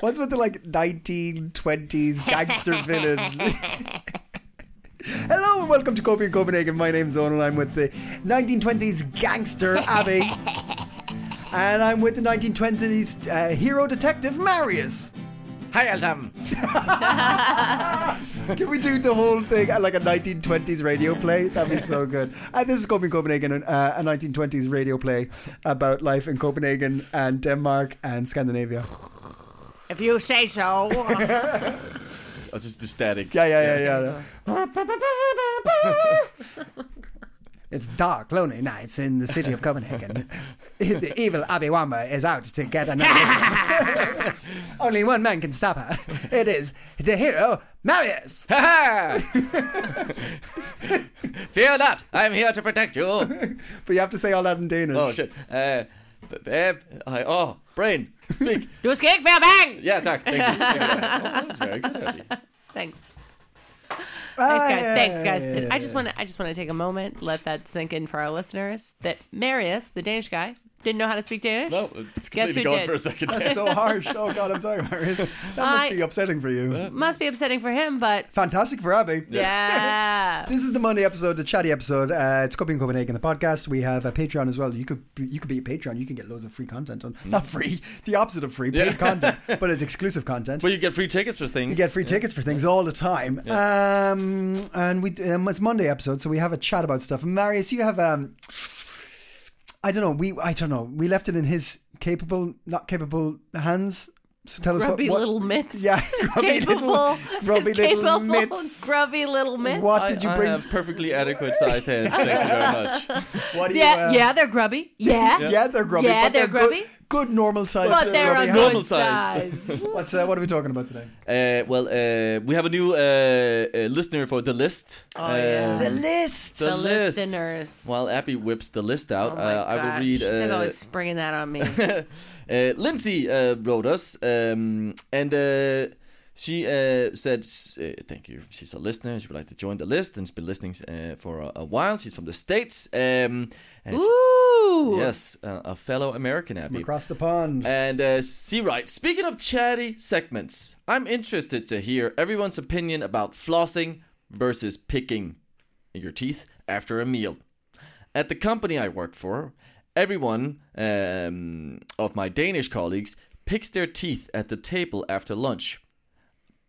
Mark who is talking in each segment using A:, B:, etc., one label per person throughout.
A: What's with the like 1920s gangster villain? Hello and welcome to Copy in Copenhagen. My name's Owen and I'm with the 1920s gangster Abby. and I'm with the 1920s uh, hero detective Marius.
B: Hi, Altam.
A: Can we do the whole thing at like a 1920s radio play? That'd be so good. And this is Coping Copenhagen, uh, a 1920s radio play about life in Copenhagen and Denmark and Scandinavia.
B: If you say so.
C: I'll just do static.
A: Yeah, yeah, yeah, yeah. it's dark, lonely nights in the city of Copenhagen. the evil Abby Wamba is out to get another. Only one man can stop her. It is the hero, Marius.
C: Fear not, I'm here to protect you.
A: But you have to say all that in Danish.
C: Oh shit. Uh, b- b- I- oh, brain, speak.
D: Du skal ikke være bange!
C: Yeah, tak. Thank you. Thank you. Oh, that was very good, Abby.
D: Thanks.
A: Ah,
D: Thanks, guys.
A: yeah,
D: Thanks,
A: yeah,
D: guys.
A: yeah, yeah,
D: I just want to. I just want to take a moment, let that sink in for our listeners. That Marius, the Danish guy, didn't know how to speak Danish.
C: No, Oh, it's
D: Guess
C: completely
D: who
C: gone
D: did?
C: for a second.
A: That's so harsh. Oh God, I'm sorry, Marius. That must
D: I-
A: be upsetting for you.
D: Must be upsetting for him, but
A: Fantastic for Abby.
D: yeah.
A: This is the Monday episode, the chatty episode. Uh, it's Copy in Copenhagen, the podcast. We have a Patreon as well. You could be- you could be a Patreon. You can get loads of free content on not free, the opposite of free, paid
C: Mm. Yeah.
A: content, but it's exclusive content.
C: Well, you get free tickets for things.
A: You get free tickets for things all the time. Um, and we um, it's Monday episode, so we have a chat about stuff. Marius, you have um, I don't know. We I don't know. We left it in his capable, not capable hands. So tell
D: Grubby
A: us what, what
D: little mitts.
A: Yeah, grubby
D: Capable.
A: little, grubby
D: his capable,
A: little mitts.
D: Grubby little mitts.
A: What
C: I,
A: did you
C: I
A: bring?
C: have perfectly adequate sized hands. Thank you very much.
A: what do
D: Yeah,
A: you, uh,
D: yeah, they're grubby. Yeah,
A: yeah, they're grubby.
D: Yeah,
A: but
D: they're grubby.
A: Good, good normal size.
D: but they're a
A: grubby
D: good
C: Normal size.
D: size.
A: hand. What's uh, what are we talking about today?
C: Uh, well, uh, we have a new uh, uh, listener for the list.
D: Oh, yeah.
C: Uh,
D: The
A: list.
C: The
D: the
C: list.
D: listeners.
C: While Abby whips the list out,
D: Oh my
C: uh, I will
D: gosh.
C: read. Uh,
D: They're always springing that on me.
C: uh, Lindsay uh, wrote us, um, and uh, she uh, said, s- uh, "Thank you." She's a listener. She would like to join the list, and she's been listening uh, for a, a while. She's from the states. Um, and she-
D: Ooh.
C: yes, uh, a fellow American, Abby.
A: Across the pond.
C: And uh, she writes, speaking of chatty segments, I'm interested to hear everyone's opinion about flossing versus picking your teeth after a meal. At the company I work for, everyone um, of my Danish colleagues picks their teeth at the table after lunch.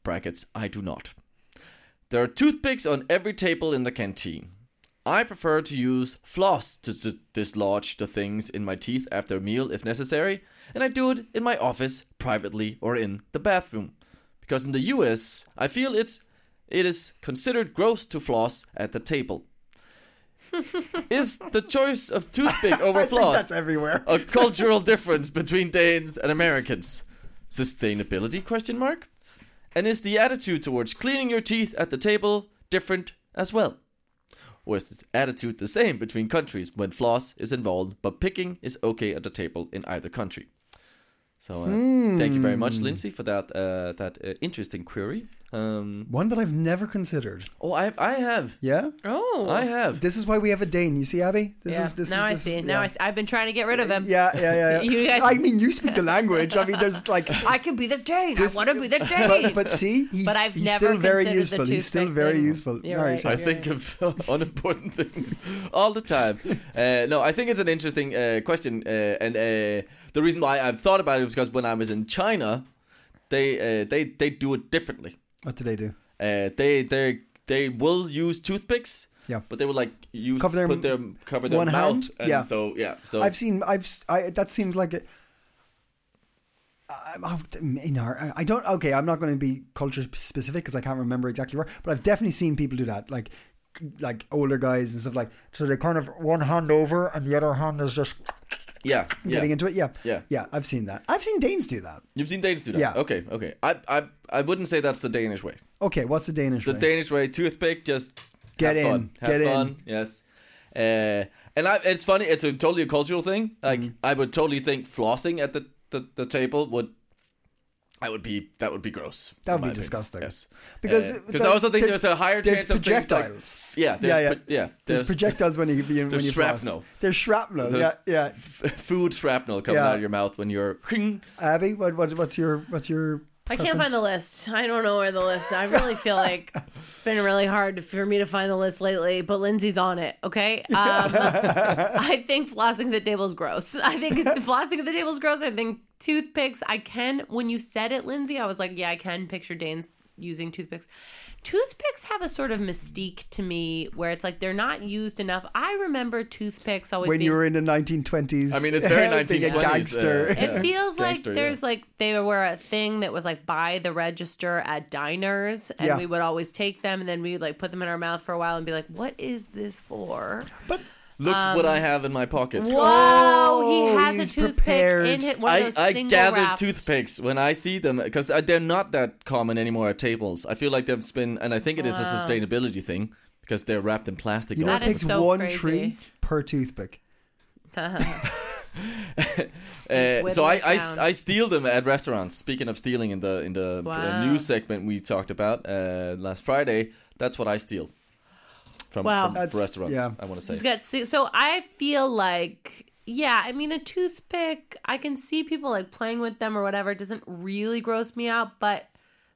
C: Brackets, I do not. There are toothpicks on every table in the canteen. I prefer to use floss to s- dislodge the things in my teeth after a meal if necessary, and I do it in my office, privately, or in the bathroom. Because in the US, I feel it's it is considered gross to floss at the table. is the choice of toothpick over
A: I think
C: floss
A: that's everywhere.
C: a cultural difference between Danes and Americans? Sustainability question mark? And is the attitude towards cleaning your teeth at the table different as well? Or is this attitude the same between countries when floss is involved, but picking is okay at the table in either country? So uh, thank you very much, Lindsay, for that uh, that uh, interesting query. Um,
A: One that I've never considered.
C: oh, I I have
A: Yeah.
D: Oh.
C: I have.
A: This is why we have a Dane. You see, Abby. This
D: Yeah.
A: is this.
D: now
A: is,
D: I
A: this,
D: see.
A: yeah. Uh,
D: Now I see. I've been trying to get rid of him.
A: Yeah, yeah, yeah. yeah.
D: You guys-
A: I mean, you speak the language. I mean, there's like.
D: I can be the Dane.
A: This-
D: I want to be the Dane.
A: But, but see, he's,
D: But I've
A: he's
D: never
A: still very
D: considered the
A: useful. He's still
D: toothpick
A: very
D: thing.
A: useful.
D: You're
A: No,
D: right.
A: he's-
C: I
D: Yeah.
C: think of unimportant things all the time. Uh, no, I think it's an interesting uh, question, uh, and uh, the reason why I've thought about it is because when I was in China, they uh, they they do it differently.
A: What do they do?
C: Uh, they they they will use toothpicks.
A: Yeah.
C: But they will like use
A: Cover their-
C: put their cover their
A: one
C: mouth.
A: hand?
C: And
A: Yeah.
C: So yeah. So
A: I've seen. I've. s- I, that seems like. oh, A, I, I, in our, I don't. Okay, I'm not going to be culture specific because I can't remember exactly where. But I've definitely seen people do that. Like like older guys and stuff like so they kind of one hand over and the other hand is just
C: Yeah, yeah.
A: getting into it. Yeah.
C: Yeah.
A: Yeah. I've seen that. I've seen Danes do that.
C: You've seen Danes do that.
A: Yeah.
C: Okay. Okay. I I I wouldn't say that's the Danish way.
A: Okay, what's the Danish
C: The
A: way?
C: Danish way, toothpick, just
A: Get
C: have
A: in,
C: fun, have
A: get in.
C: fun. Yes. Uh, and I, it's funny. It's a totally a cultural thing. Like
A: Mm-hmm.
C: I would totally think flossing at the, the, the table would. I would be that would be gross.
A: That
C: in
A: would be
C: my opinion.
A: disgusting.
C: Yes,
A: Because
C: Uh,
A: it-
C: 'cause I also think
A: there's-
C: there's, a higher
A: there's
C: chance of things like-
A: projectiles.
C: yeah, there's,
A: Yeah, yeah.
C: pro- yeah.
A: There's, projectiles when you when
C: there's
A: you floss.
C: shrapnel.
A: There's shrapnel.
C: There's-
A: yeah,
C: food shrapnel coming
A: Yeah.
C: out of your mouth when you're.
A: yeah. Abby, what, what what's your what's your?
E: I can't find the list. I don't know where the list. I really feel like it's been really hard for me to find the list lately, but Lindsay's on it. Okay. Um, I think flossing at the table is gross. I think flossing at the table is gross. I think toothpicks. I can. When you said it, Lindsay, I was like, yeah, I can picture Danes using toothpicks. Toothpicks have a sort of mystique to me where it's like they're not used enough. I remember toothpicks always
A: When
E: being
A: you were in the 1920s.
C: I mean, it's very
A: being
C: 1920s.
A: a gangster.
C: uh, yeah.
E: It feels like
C: Gangster,
E: there's
C: yeah.
E: like they were a thing that was like by the register at diners, and
A: Yeah.
E: we would always take them, and then we would like put them in our mouth for a while and be like, "What is this for?"
C: Look what
E: um,
C: I have in my pocket.
E: Whoa, he has
A: he's
E: a toothpick
A: prepared.
E: in it. One of
C: I,
E: those
C: I
E: single
C: gather
E: wrapped-
C: toothpicks when I see them because they're not that common anymore at tables. I feel like they've been, and I think it is a sustainability thing because they're wrapped in plastic.
A: You know, it
E: That
C: also.
E: is
A: takes
E: so
A: one
E: crazy.
A: tree per toothpick.
C: Uh, so
E: whittle
C: I,
E: it
C: I,
E: down.
C: I steal them at restaurants. Speaking of stealing in the in the uh,
E: Wow.
C: news segment we talked about uh, last Friday, that's what I steal from,
E: Wow.
C: from
A: That's-
C: restaurants.
A: yeah.
C: I want to
E: He's
C: say.
E: got si- so I feel like yeah, I mean a toothpick, I can see people like playing with them or whatever. It doesn't really gross me out, but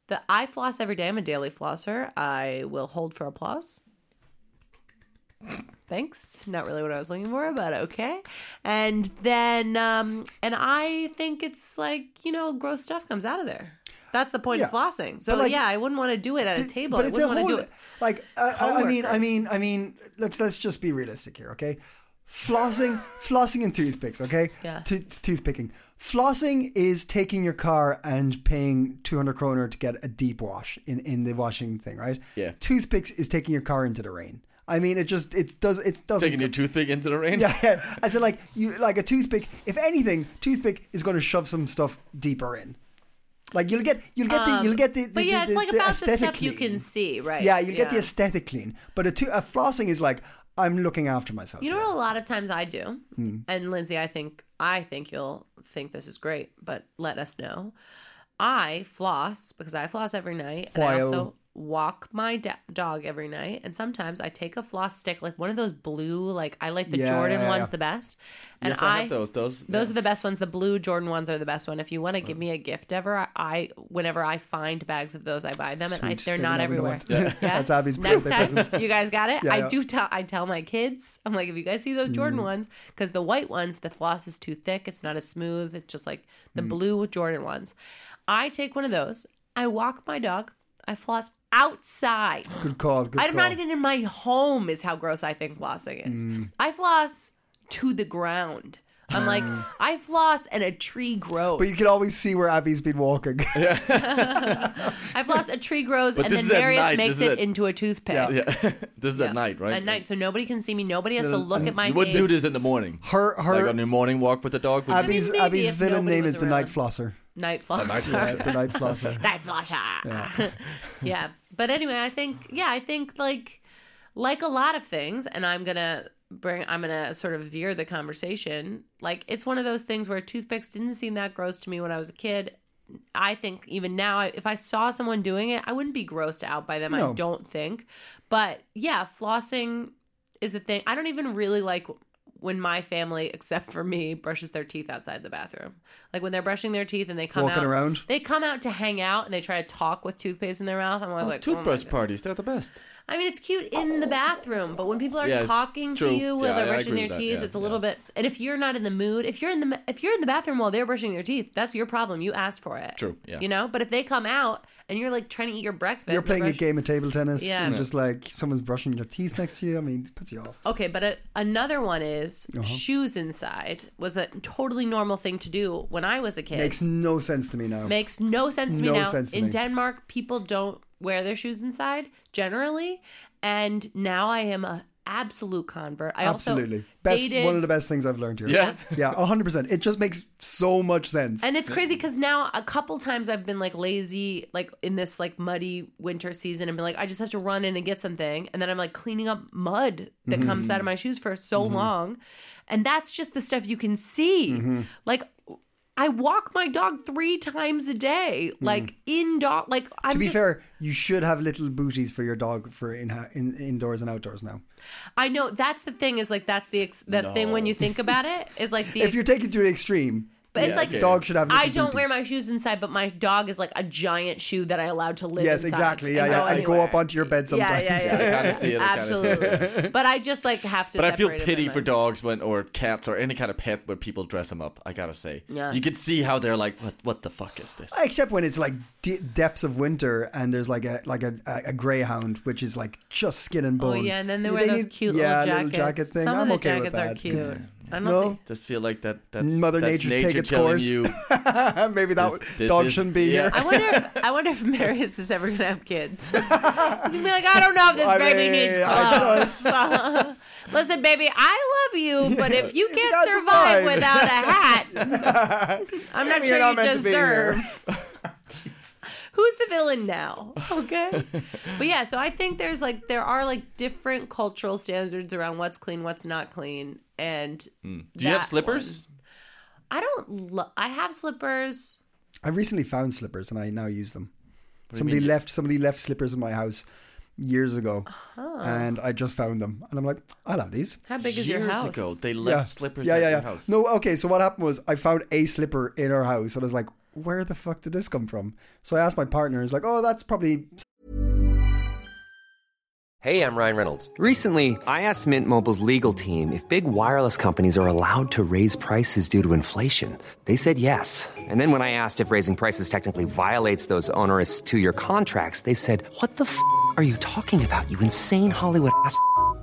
E: the I floss every day. I'm a daily flosser. I will hold for applause. Thanks. Not really what I was looking for, but okay. And then um and I think it's like, you know, gross stuff comes out of there. That's the point of
A: Yeah.
E: flossing. So
A: But, like,
E: yeah, I wouldn't want to do it at a
A: Th-
E: table. I wouldn't want to do it.
A: like uh, I I mean I
E: Coworkers.
A: mean I mean let's let's just be realistic here, okay? Flossing, flossing and toothpicks, okay?
E: Yeah.
A: To- toothpicking. Flossing is taking your car and paying 200 kroner to get a deep wash in, in the washing thing, right?
C: Yeah.
A: Toothpicks is taking your car into the rain. I mean, it just it does it doesn't
C: Taking your toothpick into the rain.
A: yeah, yeah. As in, like you, like a toothpick. If anything, toothpick is going to shove some stuff deeper in. Like you'll get, you'll get the, you'll get the. the
E: Um, But yeah,
A: the-
E: it's like
A: the
E: about the
A: aesthetic
E: stuff you
A: clean.
E: can see, right?
A: Yeah, you'll get the aesthetic clean. But a, to- a flossing is like I'm looking after myself.
E: You know
A: here.
E: what? A lot of times I do,
A: Hmm.
E: and Lindsay, I think I think you'll think this is great, but let us know. I floss because I floss every night, and I
A: While-
E: also walk my da- dog every night. And sometimes I take a floss stick, like one of those blue, like I like the
A: Yeah,
E: Jordan
A: yeah,
E: ones
A: yeah.
E: the best. And
C: yes, I, have those. Those.
E: those are the best ones. The blue Jordan ones are the best one. If you want to give me a gift ever, I- I whenever I find bags of those, I buy them, and I,
A: Sweet.
E: they're
A: Maybe
E: not
A: now we know
E: everywhere.
A: what- That's Abby's
E: Next
A: birthday
E: time,
A: present.
E: you guys got it.
A: Yeah, Mm-hmm.
E: I
A: yeah.
E: do tell. I tell my kids. I'm like, if you guys see those Jordan ones, because the white ones, the floss is too thick. It's not as smooth. It's just like the
A: Mm.
E: blue Jordan ones. I take one of those. I walk my dog. I floss outside.
A: Good call. Good
E: I'm
A: call.
E: not even in my home is how gross I think flossing is.
C: Mm.
E: I floss to the ground. I'm like, I floss and a tree grows.
A: But you can always see where Abby's been walking.
E: I've lost a tree grows
C: But
E: and then
C: this is at
E: Marius
C: night,
E: makes
C: this
E: it
C: is at-
E: into a toothpick.
C: Yeah. this is at night, right?
E: At night, so nobody can see me. Nobody has to look at my
C: You wouldn't do
E: face.
C: this in the morning.
A: Her- her-
C: like on your morning walk with the dog. would you-
A: Abby's
E: maybe
A: Abby's
E: if
A: villain
E: nobody
A: name
E: was
A: is the night
E: around.
A: flosser.
E: Night floss.
A: the night flosser.
E: Night flosser. Yeah. But anyway, I think yeah, I think like like a lot of things, and I'm gonna bring I'm gonna sort of veer the conversation. Like it's one of those things where toothpicks didn't seem that gross to me when I was a kid. I think even now, I- if I saw someone doing it, I wouldn't be grossed out by them. I
A: No.
E: don't think. But yeah, flossing is the thing. I don't even really like when my family, except for me, brushes their teeth outside the bathroom. Like when they're brushing their teeth and they come
A: Walking
E: out,
A: around?
E: They come out to hang out and they try to talk with toothpaste in their mouth. I'm always like, oh my
C: Toothbrush
E: God.
C: parties, they're the best.
E: I mean, it's cute in the bathroom, but when people are
C: Yeah,
E: talking
C: true.
E: to you while
C: Yeah,
E: they're
C: I- I
E: brushing
C: agree
E: their
C: with that.
E: teeth,
C: Yeah,
E: it's a little bit. And if you're not in the mood, if you're in the if you're in the bathroom while they're brushing their teeth, that's your problem. You asked for it.
C: True, yeah.
E: You know, but if they come out and you're like trying to eat your breakfast,
A: You're
E: the
A: playing a
E: brush-
A: game of table tennis,
E: Yeah.
A: and just like someone's brushing your teeth next to you. I mean, it puts you off.
E: Okay, but a, another one is
A: Uh-huh.
E: shoes inside was a totally normal thing to do when I was a kid.
A: Makes no sense to me now.
E: Makes no sense to me
A: No
E: now.
A: sense to
E: In
A: me.
E: Denmark, people don't wear their shoes inside generally, and now I am a absolute convert. I
A: Absolutely.
E: also
A: best,
E: dated,
A: One of the best things I've learned here.
C: Yeah.
A: Yeah, 100%. It just makes so much sense.
E: And it's crazy because now a couple times I've been like lazy, like in this like muddy winter season, and been like, I just have to run in and get something, and then I'm like cleaning up mud that
A: Mm-hmm.
E: comes out of my shoes for so long, and that's just the stuff you can see.
A: Mm-hmm.
E: Like, I walk my dog three times a day, like in dog, like I'm
A: Mm. to be
E: just,
A: fair, you should have little booties for your dog for in, in indoors and outdoors now.
E: I know that's the thing is like that's the ex- that thing when you think about it is like the
A: If you're taking it to an extreme,
E: but it's
C: Yeah,
E: like
C: okay.
A: dog should have. Little
E: I don't wear
A: booties.
E: my shoes inside, but my dog is like a giant shoe that I allowed to live.
A: Yes,
E: inside
A: exactly. Yeah,
E: and
A: yeah.
E: go
A: and go
E: anywhere.
A: up onto your bed
E: Yeah,
A: sometimes.
E: yeah, yeah.
C: I kinda see it, I kinda see it.
E: Absolutely. but I just like have to.
C: But I feel
E: separate it
C: pity
E: from
C: for
E: it.
C: dogs when or cats or any kind of pet where people dress them up. I gotta say,
E: Yeah.
C: you could see how they're like, what what the fuck is this?
A: Except when it's like de- depths of winter and there's like a like a, a, a greyhound which is like just skin and
E: Oh
A: bone.
E: yeah, and then there were those
A: need-
E: cute
A: yeah,
E: little jackets.
A: jacket thing.
E: Some
A: I'm
E: of the
A: okay with
E: jackets are
A: that.
E: cute. I don't
A: No?
E: think.
C: Just feel like that. That's
A: Mother
C: that's
A: Nature
C: nature,
A: take its
C: telling
A: course.
C: you.
A: Maybe that
C: This-
A: would-
C: this
A: dog
C: is-
A: shouldn't be
C: yeah.
A: here.
E: I wonder if I wonder if Marius is ever gonna have kids. He's gonna be like, I don't know if this
A: I
E: baby
A: mean,
E: needs
A: I
E: clothes. Listen, baby, I love you, but if you
A: You
E: can't
A: gotta
E: survive
A: survive.
E: without a hat, I'm not
A: Maybe
E: sure
A: you're not
E: you
A: meant to be here.
E: deserve. Who's the villain now? Okay. But yeah, so I think there's like there are like different cultural standards around what's clean, what's not clean, and
C: Do you have
E: that
C: slippers?
E: one. I don't. Lo- I have slippers.
A: I recently found slippers and I now use them. Somebody left somebody left slippers in my house years ago,
E: Uh-huh.
A: and I just found them, and I'm like, I'll have these.
E: How big is
C: Years
E: your house?
C: ago, they left slippers at your house.
A: No, okay. So what happened was I found a slipper in our house, and I was like, "Where the fuck did this come from?" So I asked my partner. He's like, "Oh, that's probably
F: Hey, I'm Ryan Reynolds. Recently, I asked Mint Mobile's legal team if big wireless companies are allowed to raise prices due to inflation. They said yes. And then when I asked if raising prices technically violates those onerous two year contracts, they said, What the f are you talking about, you insane Hollywood ass? f-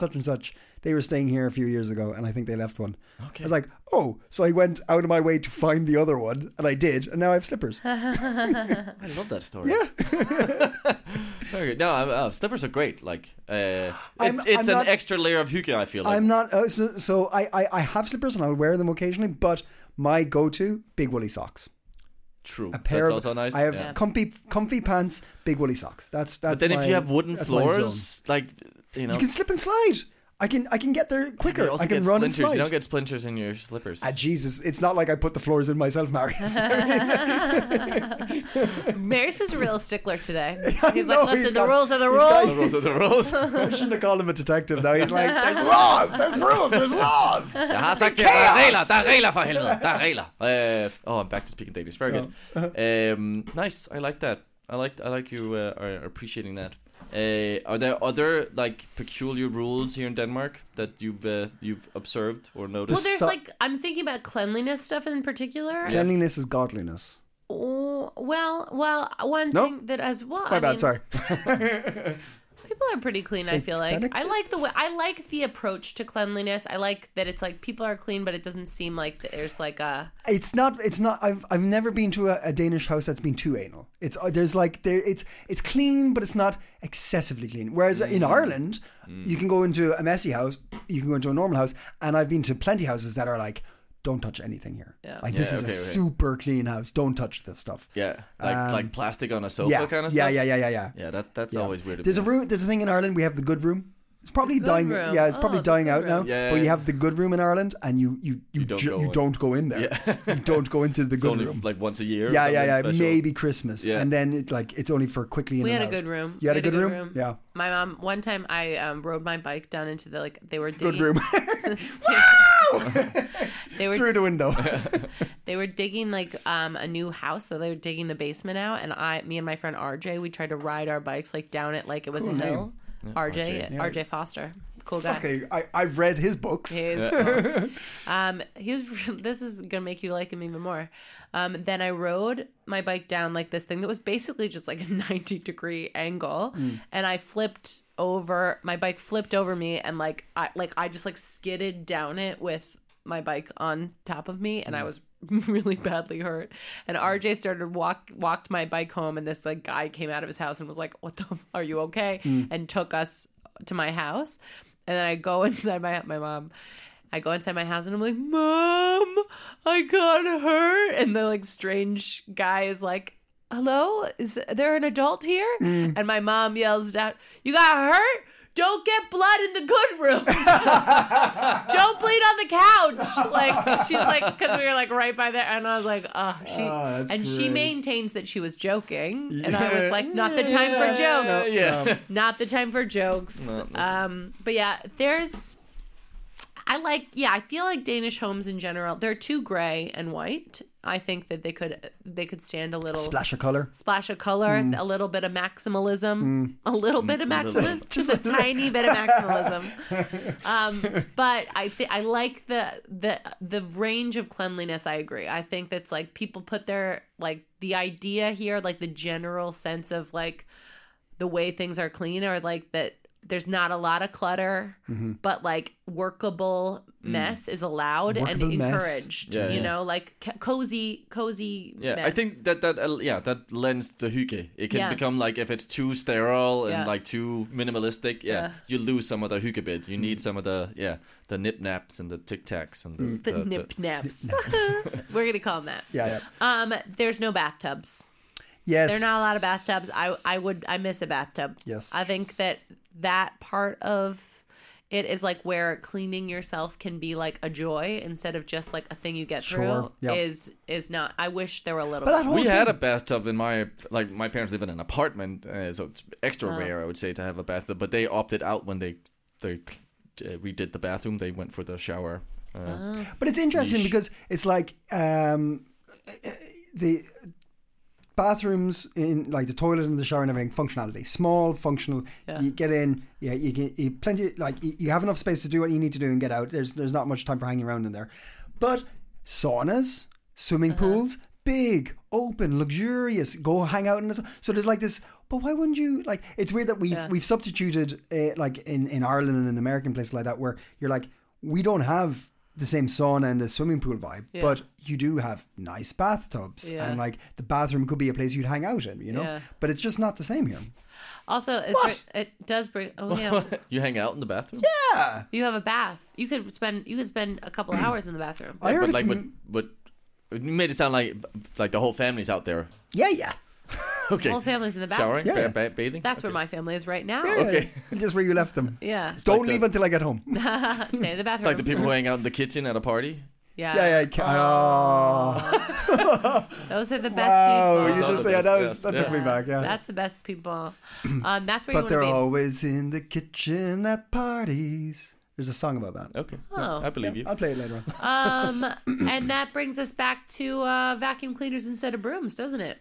A: such and such. They were staying here a few years ago, and I think they left one." Okay. I was like, "Oh," so I went out of my way to find the other one, and I did, and now I have slippers.
C: I love that story. Yeah. okay. No, I'm, uh, slippers are great. Like, uh, it's
A: I'm- I'm
C: it's an
A: not-
C: extra layer of hookah. I feel like.
A: I'm not uh, so, so I, I I have slippers and I'll wear them occasionally, but my go-to big woolly socks.
C: True.
A: A pair
C: That's
A: of
C: also nice.
A: I have
C: Yeah.
A: comfy comfy pants, big woolly socks. That's that's.
C: But then
A: my-
C: if you have wooden
A: that's my zone.
C: floors, like you know,
A: You can slip and slide. I can I can get there quicker.
C: you also
A: I can
C: get
A: run and
C: splinters.
A: slide.
C: You don't get splinters in your slippers.
A: Ah, Jesus, it's not like I put the floors in myself, Marius.
E: Marius was a real stickler today. He's
A: know,
E: like, listen,
A: he's
E: the
A: got-
E: rules are the
A: he's got-
E: rules.
C: Those are the rules.
A: I shouldn't have called him a detective now. He's like, there's laws, there's rules, there's laws.
C: Jaha, sagt ihr, der
A: chaos.
C: Regler, der Regler, for helvede, der Regler. Uh, oh, I'm back to speaking Danish. Very
A: Oh, uh-huh.
C: good. Um, nice. I like that. I like I like you uh, are appreciating that. Uh, are there other like peculiar rules here in Denmark that you've uh, you've observed or noticed?
E: Well, there's
A: So-
E: like I'm thinking about cleanliness stuff in particular.
A: Cleanliness is godliness.
E: Oh, well, well, one
A: Nope.
E: thing that as well.
A: My
E: I
A: bad,
E: mean,
A: sorry.
E: People are pretty clean. I feel like
A: Satanic
E: I like the way I like the approach to cleanliness. I like that it's like people are clean, but it doesn't seem like that there's like a
A: It's not. It's not. I've I've never been to a, a Danish house that's been too anal. It's uh, there's like there. It's it's clean, but it's not excessively clean. Whereas in
C: Mm.
A: Ireland, you can go into a messy house, you can go into a normal house, and I've been to plenty houses that are like, don't touch anything here. Like this
C: Yeah,
A: is
C: okay,
A: a
C: okay.
A: super clean house. Don't touch this stuff.
C: yeah, like like plastic on a sofa
A: Um, yeah,
C: kind of
A: yeah,
C: stuff.
A: yeah, yeah, yeah, yeah.
C: Yeah, that that's
A: Yeah.
C: always weird.
A: There's a room. There's a thing in Ireland. We have the good room. It's probably
E: good
A: dying.
E: room.
A: Yeah, it's
E: Oh,
A: probably
E: the
A: dying
E: good
A: out now.
E: room.
C: Yeah.
A: But you have the good room in Ireland, and you you you you
C: don't
A: don't,
C: go
A: go, you
C: in.
A: don't go in there. you don't go into the
C: it's
A: good
C: only
A: room.
C: like once a year. or
A: yeah, yeah, yeah.
C: something special.
A: Maybe Christmas,
C: Yeah.
A: and then it like it's only for quickly. In
E: We
A: and
E: had a
A: out.
E: good room.
A: You had,
E: We
A: a good, room? Yeah,
E: My mom. One time, I um, rode my bike down into the like they were digging,
A: good room
E: They were
A: through the window.
E: they were digging like um, a new house, so they were digging the basement out. And I, me and my friend RJ, we tried to ride our bikes like down it like it was a hill. RJ, RJ, Foster. cool guy.
A: Fucking, I, I've read his books.
E: He is cool. um, he was. This is gonna make you like him even more. Um, then I rode my bike down like this thing that was basically just like a ninety degree angle, and I flipped over. My bike flipped over me, and like I like I just like skidded down it with my bike on top of me, and I was really badly hurt. And RJ started walk walked my bike home, and this like guy came out of his house and was like, "What the? f- Are you okay?" And took us to my house. And then I go inside my my mom. I go inside my house and I'm like, "Mom, I got hurt." And the like strange guy is like, "Hello, is there an adult here?" And my mom yells out, "You got hurt? Don't get blood in the good room. Don't bleed on the couch." Like she's like, because we were like right by there, and I was like, "Oh, she."
A: that's
E: and she
A: great.
E: maintains that she was joking, and I was like, "Not the time for jokes."
A: Uh,
C: yeah.
E: not the time for jokes. um, but yeah, there's. I like, yeah, I feel like Danish homes in general. They're too gray and white. I think that they could they could stand a little
A: Splash of color.
E: splash of color,
A: Mm.
E: a little bit of maximalism, a little bit of maximalism, just a
A: little.
E: tiny bit of maximalism. um, but I think I like the the the range of cleanliness. I agree. I think that's like people put their like the idea here, like the general sense of like the way things are clean, or like that there's not a lot of clutter,
A: Mm-hmm.
E: but like workable mess is allowed
A: Workable
E: and
A: mess.
E: encouraged.
C: Mm. Yeah,
E: you
C: yeah.
E: know, like c- cozy, cozy.
C: Yeah, I
E: mess.
C: think that that uh, yeah that lends the hygge. It can
E: Yeah.
C: become like if it's too sterile and
E: Yeah.
C: like too minimalistic, yeah,
E: Yeah.
C: you lose some of the hygge bit. You need some of the yeah the nip naps and the tic tacs and the,
E: Mm. The nip naps. We're gonna call them that.
A: Yeah, yeah.
E: Um, there's no bathtubs.
A: Yes.
E: There are not a lot of bathtubs. I I would I miss a bathtub.
A: Yes.
E: I think that that part of it is like where cleaning yourself can be like a joy instead of just like a thing you get
A: Sure.
E: through.
A: Yeah.
E: Is is not. I wish there were a little.
A: But
E: bit.
A: that whole
C: We
A: thing,
C: had a bathtub in my like my parents live in an apartment, uh, so it's extra
E: Oh.
C: rare I would say to have a bathtub. But they opted out when they they uh, redid the bathroom. They went for the shower. Uh,
E: Ah.
A: But it's interesting because it's like um, the bathrooms in like the toilet and the shower and everything functionality small functional you get in yeah you get you plenty like you, you have enough space to do what you need to do and get out there's there's not much time for hanging around in there but saunas swimming pools big open luxurious go hang out in the sun. so there's like this but why wouldn't you like it's weird that we've we've substituted uh, like in in Ireland and in American places like that where you're like we don't have the same sauna and the swimming pool vibe but you do have nice bathtubs
E: Yeah.
A: and like the bathroom could be a place you'd hang out in you know
E: Yeah.
A: but it's just not the same here
E: also, it's, it does bring. Oh yeah.
C: you hang out in the bathroom.
A: yeah
E: You have a bath. You could spend you could spend a couple hours in the bathroom.
A: I heard
C: but
A: a
C: like
A: commu-
C: but but you made it sound like like the whole family's out there.
A: yeah yeah
C: Okay,
E: Whole family's in the bathroom.
C: showering,
A: Yeah.
C: ba- ba- bathing.
E: That's where my family is right now.
C: Okay.
A: Yeah, just where you left them
E: Yeah.
A: don't
C: like the-
A: leave until I get home yeah
E: Stay in the bathroom.
C: It's like the people who hang out in the kitchen at a party.
E: Yeah.
A: yeah I ca- oh,
E: Those are the best
A: wow
E: people.
A: you just
C: Those are
A: yeah
C: the
A: that was
C: best,
A: that
C: yeah.
A: took me back yeah
E: That's the best people. Um, that's where
A: But
E: you
A: they're
E: want to be.
A: always in the kitchen at parties. There's a song about that.
C: Okay,
E: Oh.
C: yeah, I believe you.
A: I'll play it later on.
E: Um, and that brings us back to uh, vacuum cleaners instead of brooms, doesn't it?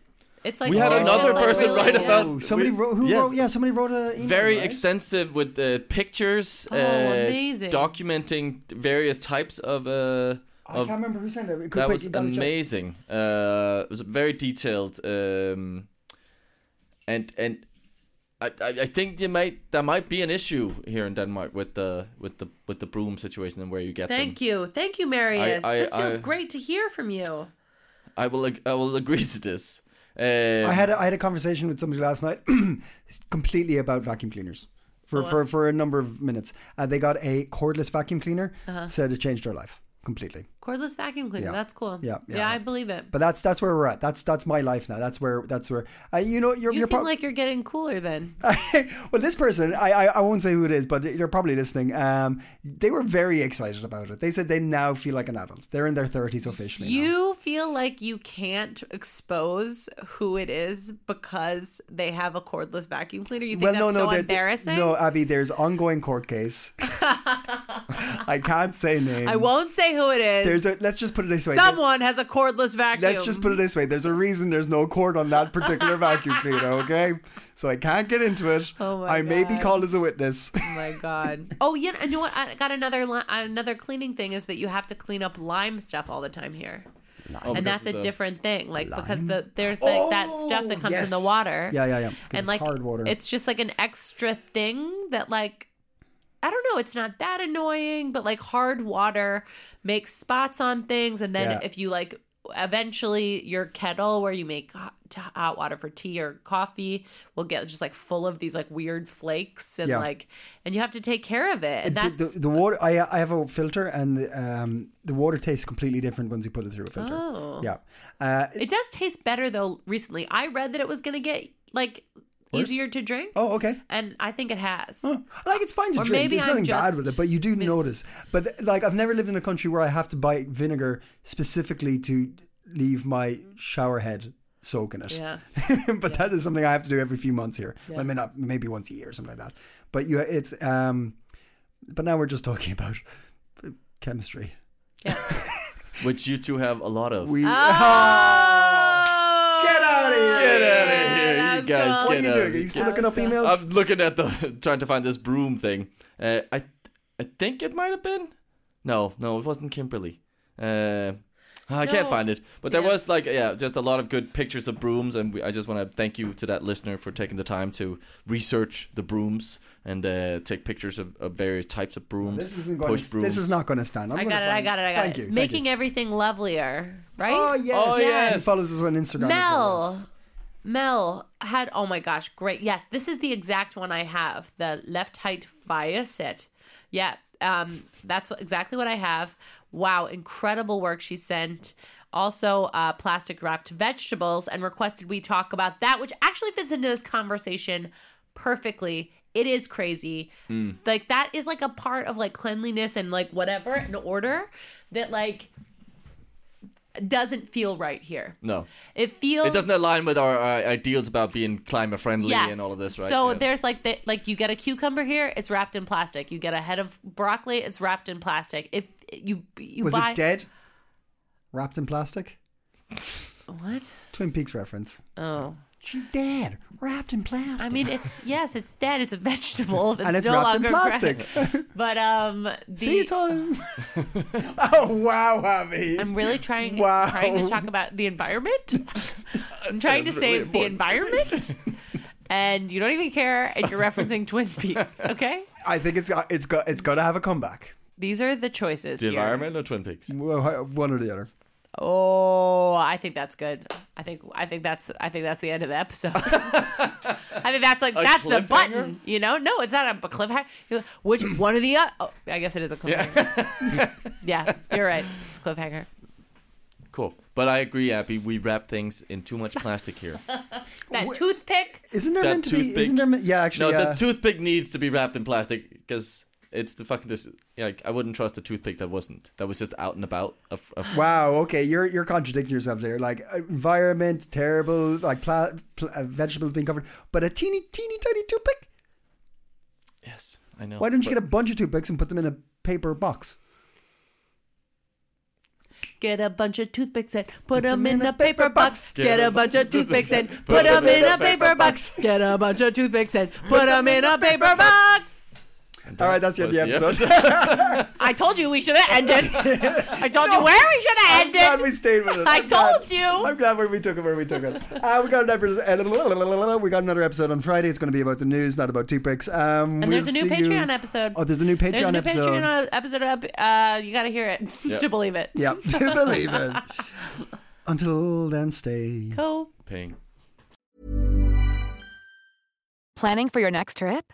E: It's like
C: We had
E: it's
C: another
E: just like
C: person
E: really-
C: write
E: yeah.
C: about-
A: Oh, somebody
C: we-
A: wrote. Who
C: yes.
A: wrote? Yeah, somebody wrote a email,
C: very
A: right?
C: extensive with uh, pictures
E: Oh,
C: uh,
E: amazing.
C: documenting various types of uh
A: I
C: of,
A: can't remember who sent it. Quick,
C: that
A: quick,
C: was
A: you gotta check.
C: amazing uh it was very detailed um and and I, I I think you might there might be an issue here in Denmark with the with the with the broom situation and where you get
E: Thank
C: them.
E: you, thank you, Marius.
C: I-
E: this feels
C: I-
E: great to hear from you.
C: I will ag- I will agree to this. Um,
A: I had a, I had a conversation with somebody last night, completely about vacuum cleaners.
E: Oh,
A: For, for, for a number of minutes, uh, they got a cordless vacuum cleaner.
E: Uh-huh.
A: Said it changed their life completely.
E: Cordless vacuum cleaner,
A: Yeah.
E: that's cool.
A: Yeah,
E: yeah,
A: yeah.
E: I believe it.
A: But that's that's where we're at. That's that's my life now. That's where that's where uh, you know you're
E: you
A: you're
E: seem
A: prob-
E: like you're getting cooler then.
A: well, this person, I, I, I won't say who it is, but you're probably listening. Um, they were very excited about it. They said they now feel like an adult. They're in their 30s officially. now.
E: You feel like you can't expose who it is because they have a cordless vacuum cleaner. You think that's so
A: there-
E: embarrassing?
A: No, Abby, there's ongoing court case. I can't say names.
E: I won't say who it is.
A: There's a. Let's just put it this way. There-
E: Someone has a cordless vacuum.
A: Let's just put it this way. There's a reason there's no cord on that particular vacuum cleaner, okay? So I can't get into it.
E: Oh my
A: I may be
E: God.
A: called as a witness.
E: Oh my god. Oh yeah, and you know what? I got another li- another cleaning thing is that you have to clean up lime stuff all the time here. and that's a different thing, like because the there's the, that stuff that comes in the
A: Oh, yes.
E: water.
A: Yeah, yeah, yeah. 'Cause
E: And
A: it's
E: like
A: hard water.
E: it's just like an extra thing that like I don't know, it's not that annoying, but like hard water makes spots on things, and then
A: Yeah.
E: if you like eventually your kettle where you make hot, t- hot water for tea or coffee will get just like full of these like weird flakes and
A: Yeah.
E: like and you have to take care of it and
A: The-
E: that's
A: the, the water. I, I have a filter, and um, the water tastes completely different once you put it through a filter.
E: Oh.
A: Yeah. Uh,
E: it does taste better though recently i read that it was gonna get like easier to drink
A: oh, okay.
E: and i think it has
A: Like it's fine to
E: Or
A: drink.
E: maybe
A: There's
E: I'm
A: nothing bad
E: just
A: with it, but you do notice. But th- like, I've never lived in a country where I have to buy vinegar specifically to leave my shower head soak in it.
E: Yeah.
A: but that is something I have to do every few months here. I mean, not maybe once a year or something like that. But you, it's. um But now we're just talking about chemistry.
C: Which you two have a lot of.
A: We.
E: Ah! oh!
A: Get out of here!
C: Get out of here, you
E: that's
C: guys.
E: cool.
A: What are
C: get
A: you
C: outta
A: doing? Are
C: here.
A: you still looking up emails?
C: I'm looking at the trying to find this broom thing. Uh, I I think it might have been. No, no, it wasn't Kimberly. Uh, I can't
E: No.
C: find it. But there
E: Yeah.
C: was like yeah, just a lot of good pictures of brooms, and we, I just want to thank you to that listener for taking the time to research the brooms and uh, take pictures of, of various types of brooms.
A: this isn't going.
C: push
A: To,
C: brooms.
A: this is not going to stand. I'm
E: I
A: gonna
E: got it,
A: find-
E: I got it, I got
A: Thank
E: it.
A: you.
E: It's
A: thank
E: making
A: you.
E: everything lovelier, right?
A: Oh yes.
C: Oh, yes.
A: He follows us on Instagram. as well, yes.
E: Mel, Mel had, oh my gosh, great. Yes, this is the exact one I have the left height fire set. Yeah, um, that's what, exactly what I have. Wow, incredible work she sent. Also, uh, plastic wrapped vegetables and requested we talk about that, which actually fits into this conversation perfectly. It is crazy. Like, that is like a part of like cleanliness and like whatever and order that like doesn't feel right here.
C: no.
E: It feels
C: It doesn't align with our, our ideals about being climate friendly
E: yes.
C: and all of this, right?
E: So
C: Yeah.
E: there's like the like you get a cucumber here, it's wrapped in plastic. You get a head of broccoli, it's wrapped in plastic. If you you
A: Was
E: buy
A: it dead? Wrapped in plastic?
E: what?
A: Twin Peaks reference.
E: Oh.
A: She's dead. Wrapped in plastic.
E: I mean it's yes, it's dead. It's a vegetable. That's
A: and it's
E: no
A: wrapped in
E: longer
A: plastic.
E: But um the
A: See, it's all. oh wow, Abby.
E: I'm really trying
A: Wow.
E: trying to talk about the environment. I'm trying to
C: That's really
E: save the
C: important.
E: environment. And you don't even care, and you're referencing Twin Peaks, okay?
A: I think it's got it's got it's got to have a comeback.
E: These are the choices.
C: the
E: here.
C: environment or Twin
A: Mm.
C: Peaks?
A: Well, One or the other.
E: Oh, I think that's good. I think I think that's I think that's the end of the episode. I think that's like that's the
C: cliffhanger?
E: button, you know? No, it's not a cliffhanger. Which one of the other? Oh, I guess it is a cliffhanger. Yeah, you're right. It's a cliffhanger.
C: Cool. But I agree, Abby. We wrap things in too much plastic here.
E: That toothpick.
A: Isn't there
C: That
A: meant to
C: toothpick-
A: be? Isn't there? meant- Yeah,
C: No,
A: actually. uh, yeah.
C: the toothpick needs to be wrapped in plastic because it's the fucking this. Like I wouldn't trust a toothpick that wasn't. That was just out and about. Of, of,
A: Wow. Okay, you're you're contradicting yourself there. Like uh, environment terrible, like pla- pl- uh, vegetables being covered, but a teeny teeny tiny toothpick.
C: yes, I know.
A: Why don't you get
C: but
A: a bunch of toothpicks and put them in a paper box?
E: Get a bunch of toothpicks and put
A: 'em
E: them in
A: in
E: a
A: a paper
E: paper box.
A: box.
E: Get a bunch of toothpicks and put them in a paper box. Get a bunch of toothpicks and put them in a paper box.
A: All right, that's the end of the
C: was the
A: episode.
E: I told you we should have ended. I told you where we should have
A: I'm
E: ended.
A: glad we stayed with it.
E: I
A: I'm glad-
E: told you.
A: I'm glad where we took it where we took it. Uh, we got an episode. We got another episode on Friday. It's going to be about the news, not about toothpicks. Um,
E: And there's a new
A: see you-
E: Patreon episode.
A: Oh, there's a new Patreon
E: There's a new
A: episode.
E: Patreon episode up. Uh, you got to hear it to believe it.
A: Yeah, to believe it. Until then, stay.
E: Go
C: Ping.
G: Planning for your next trip?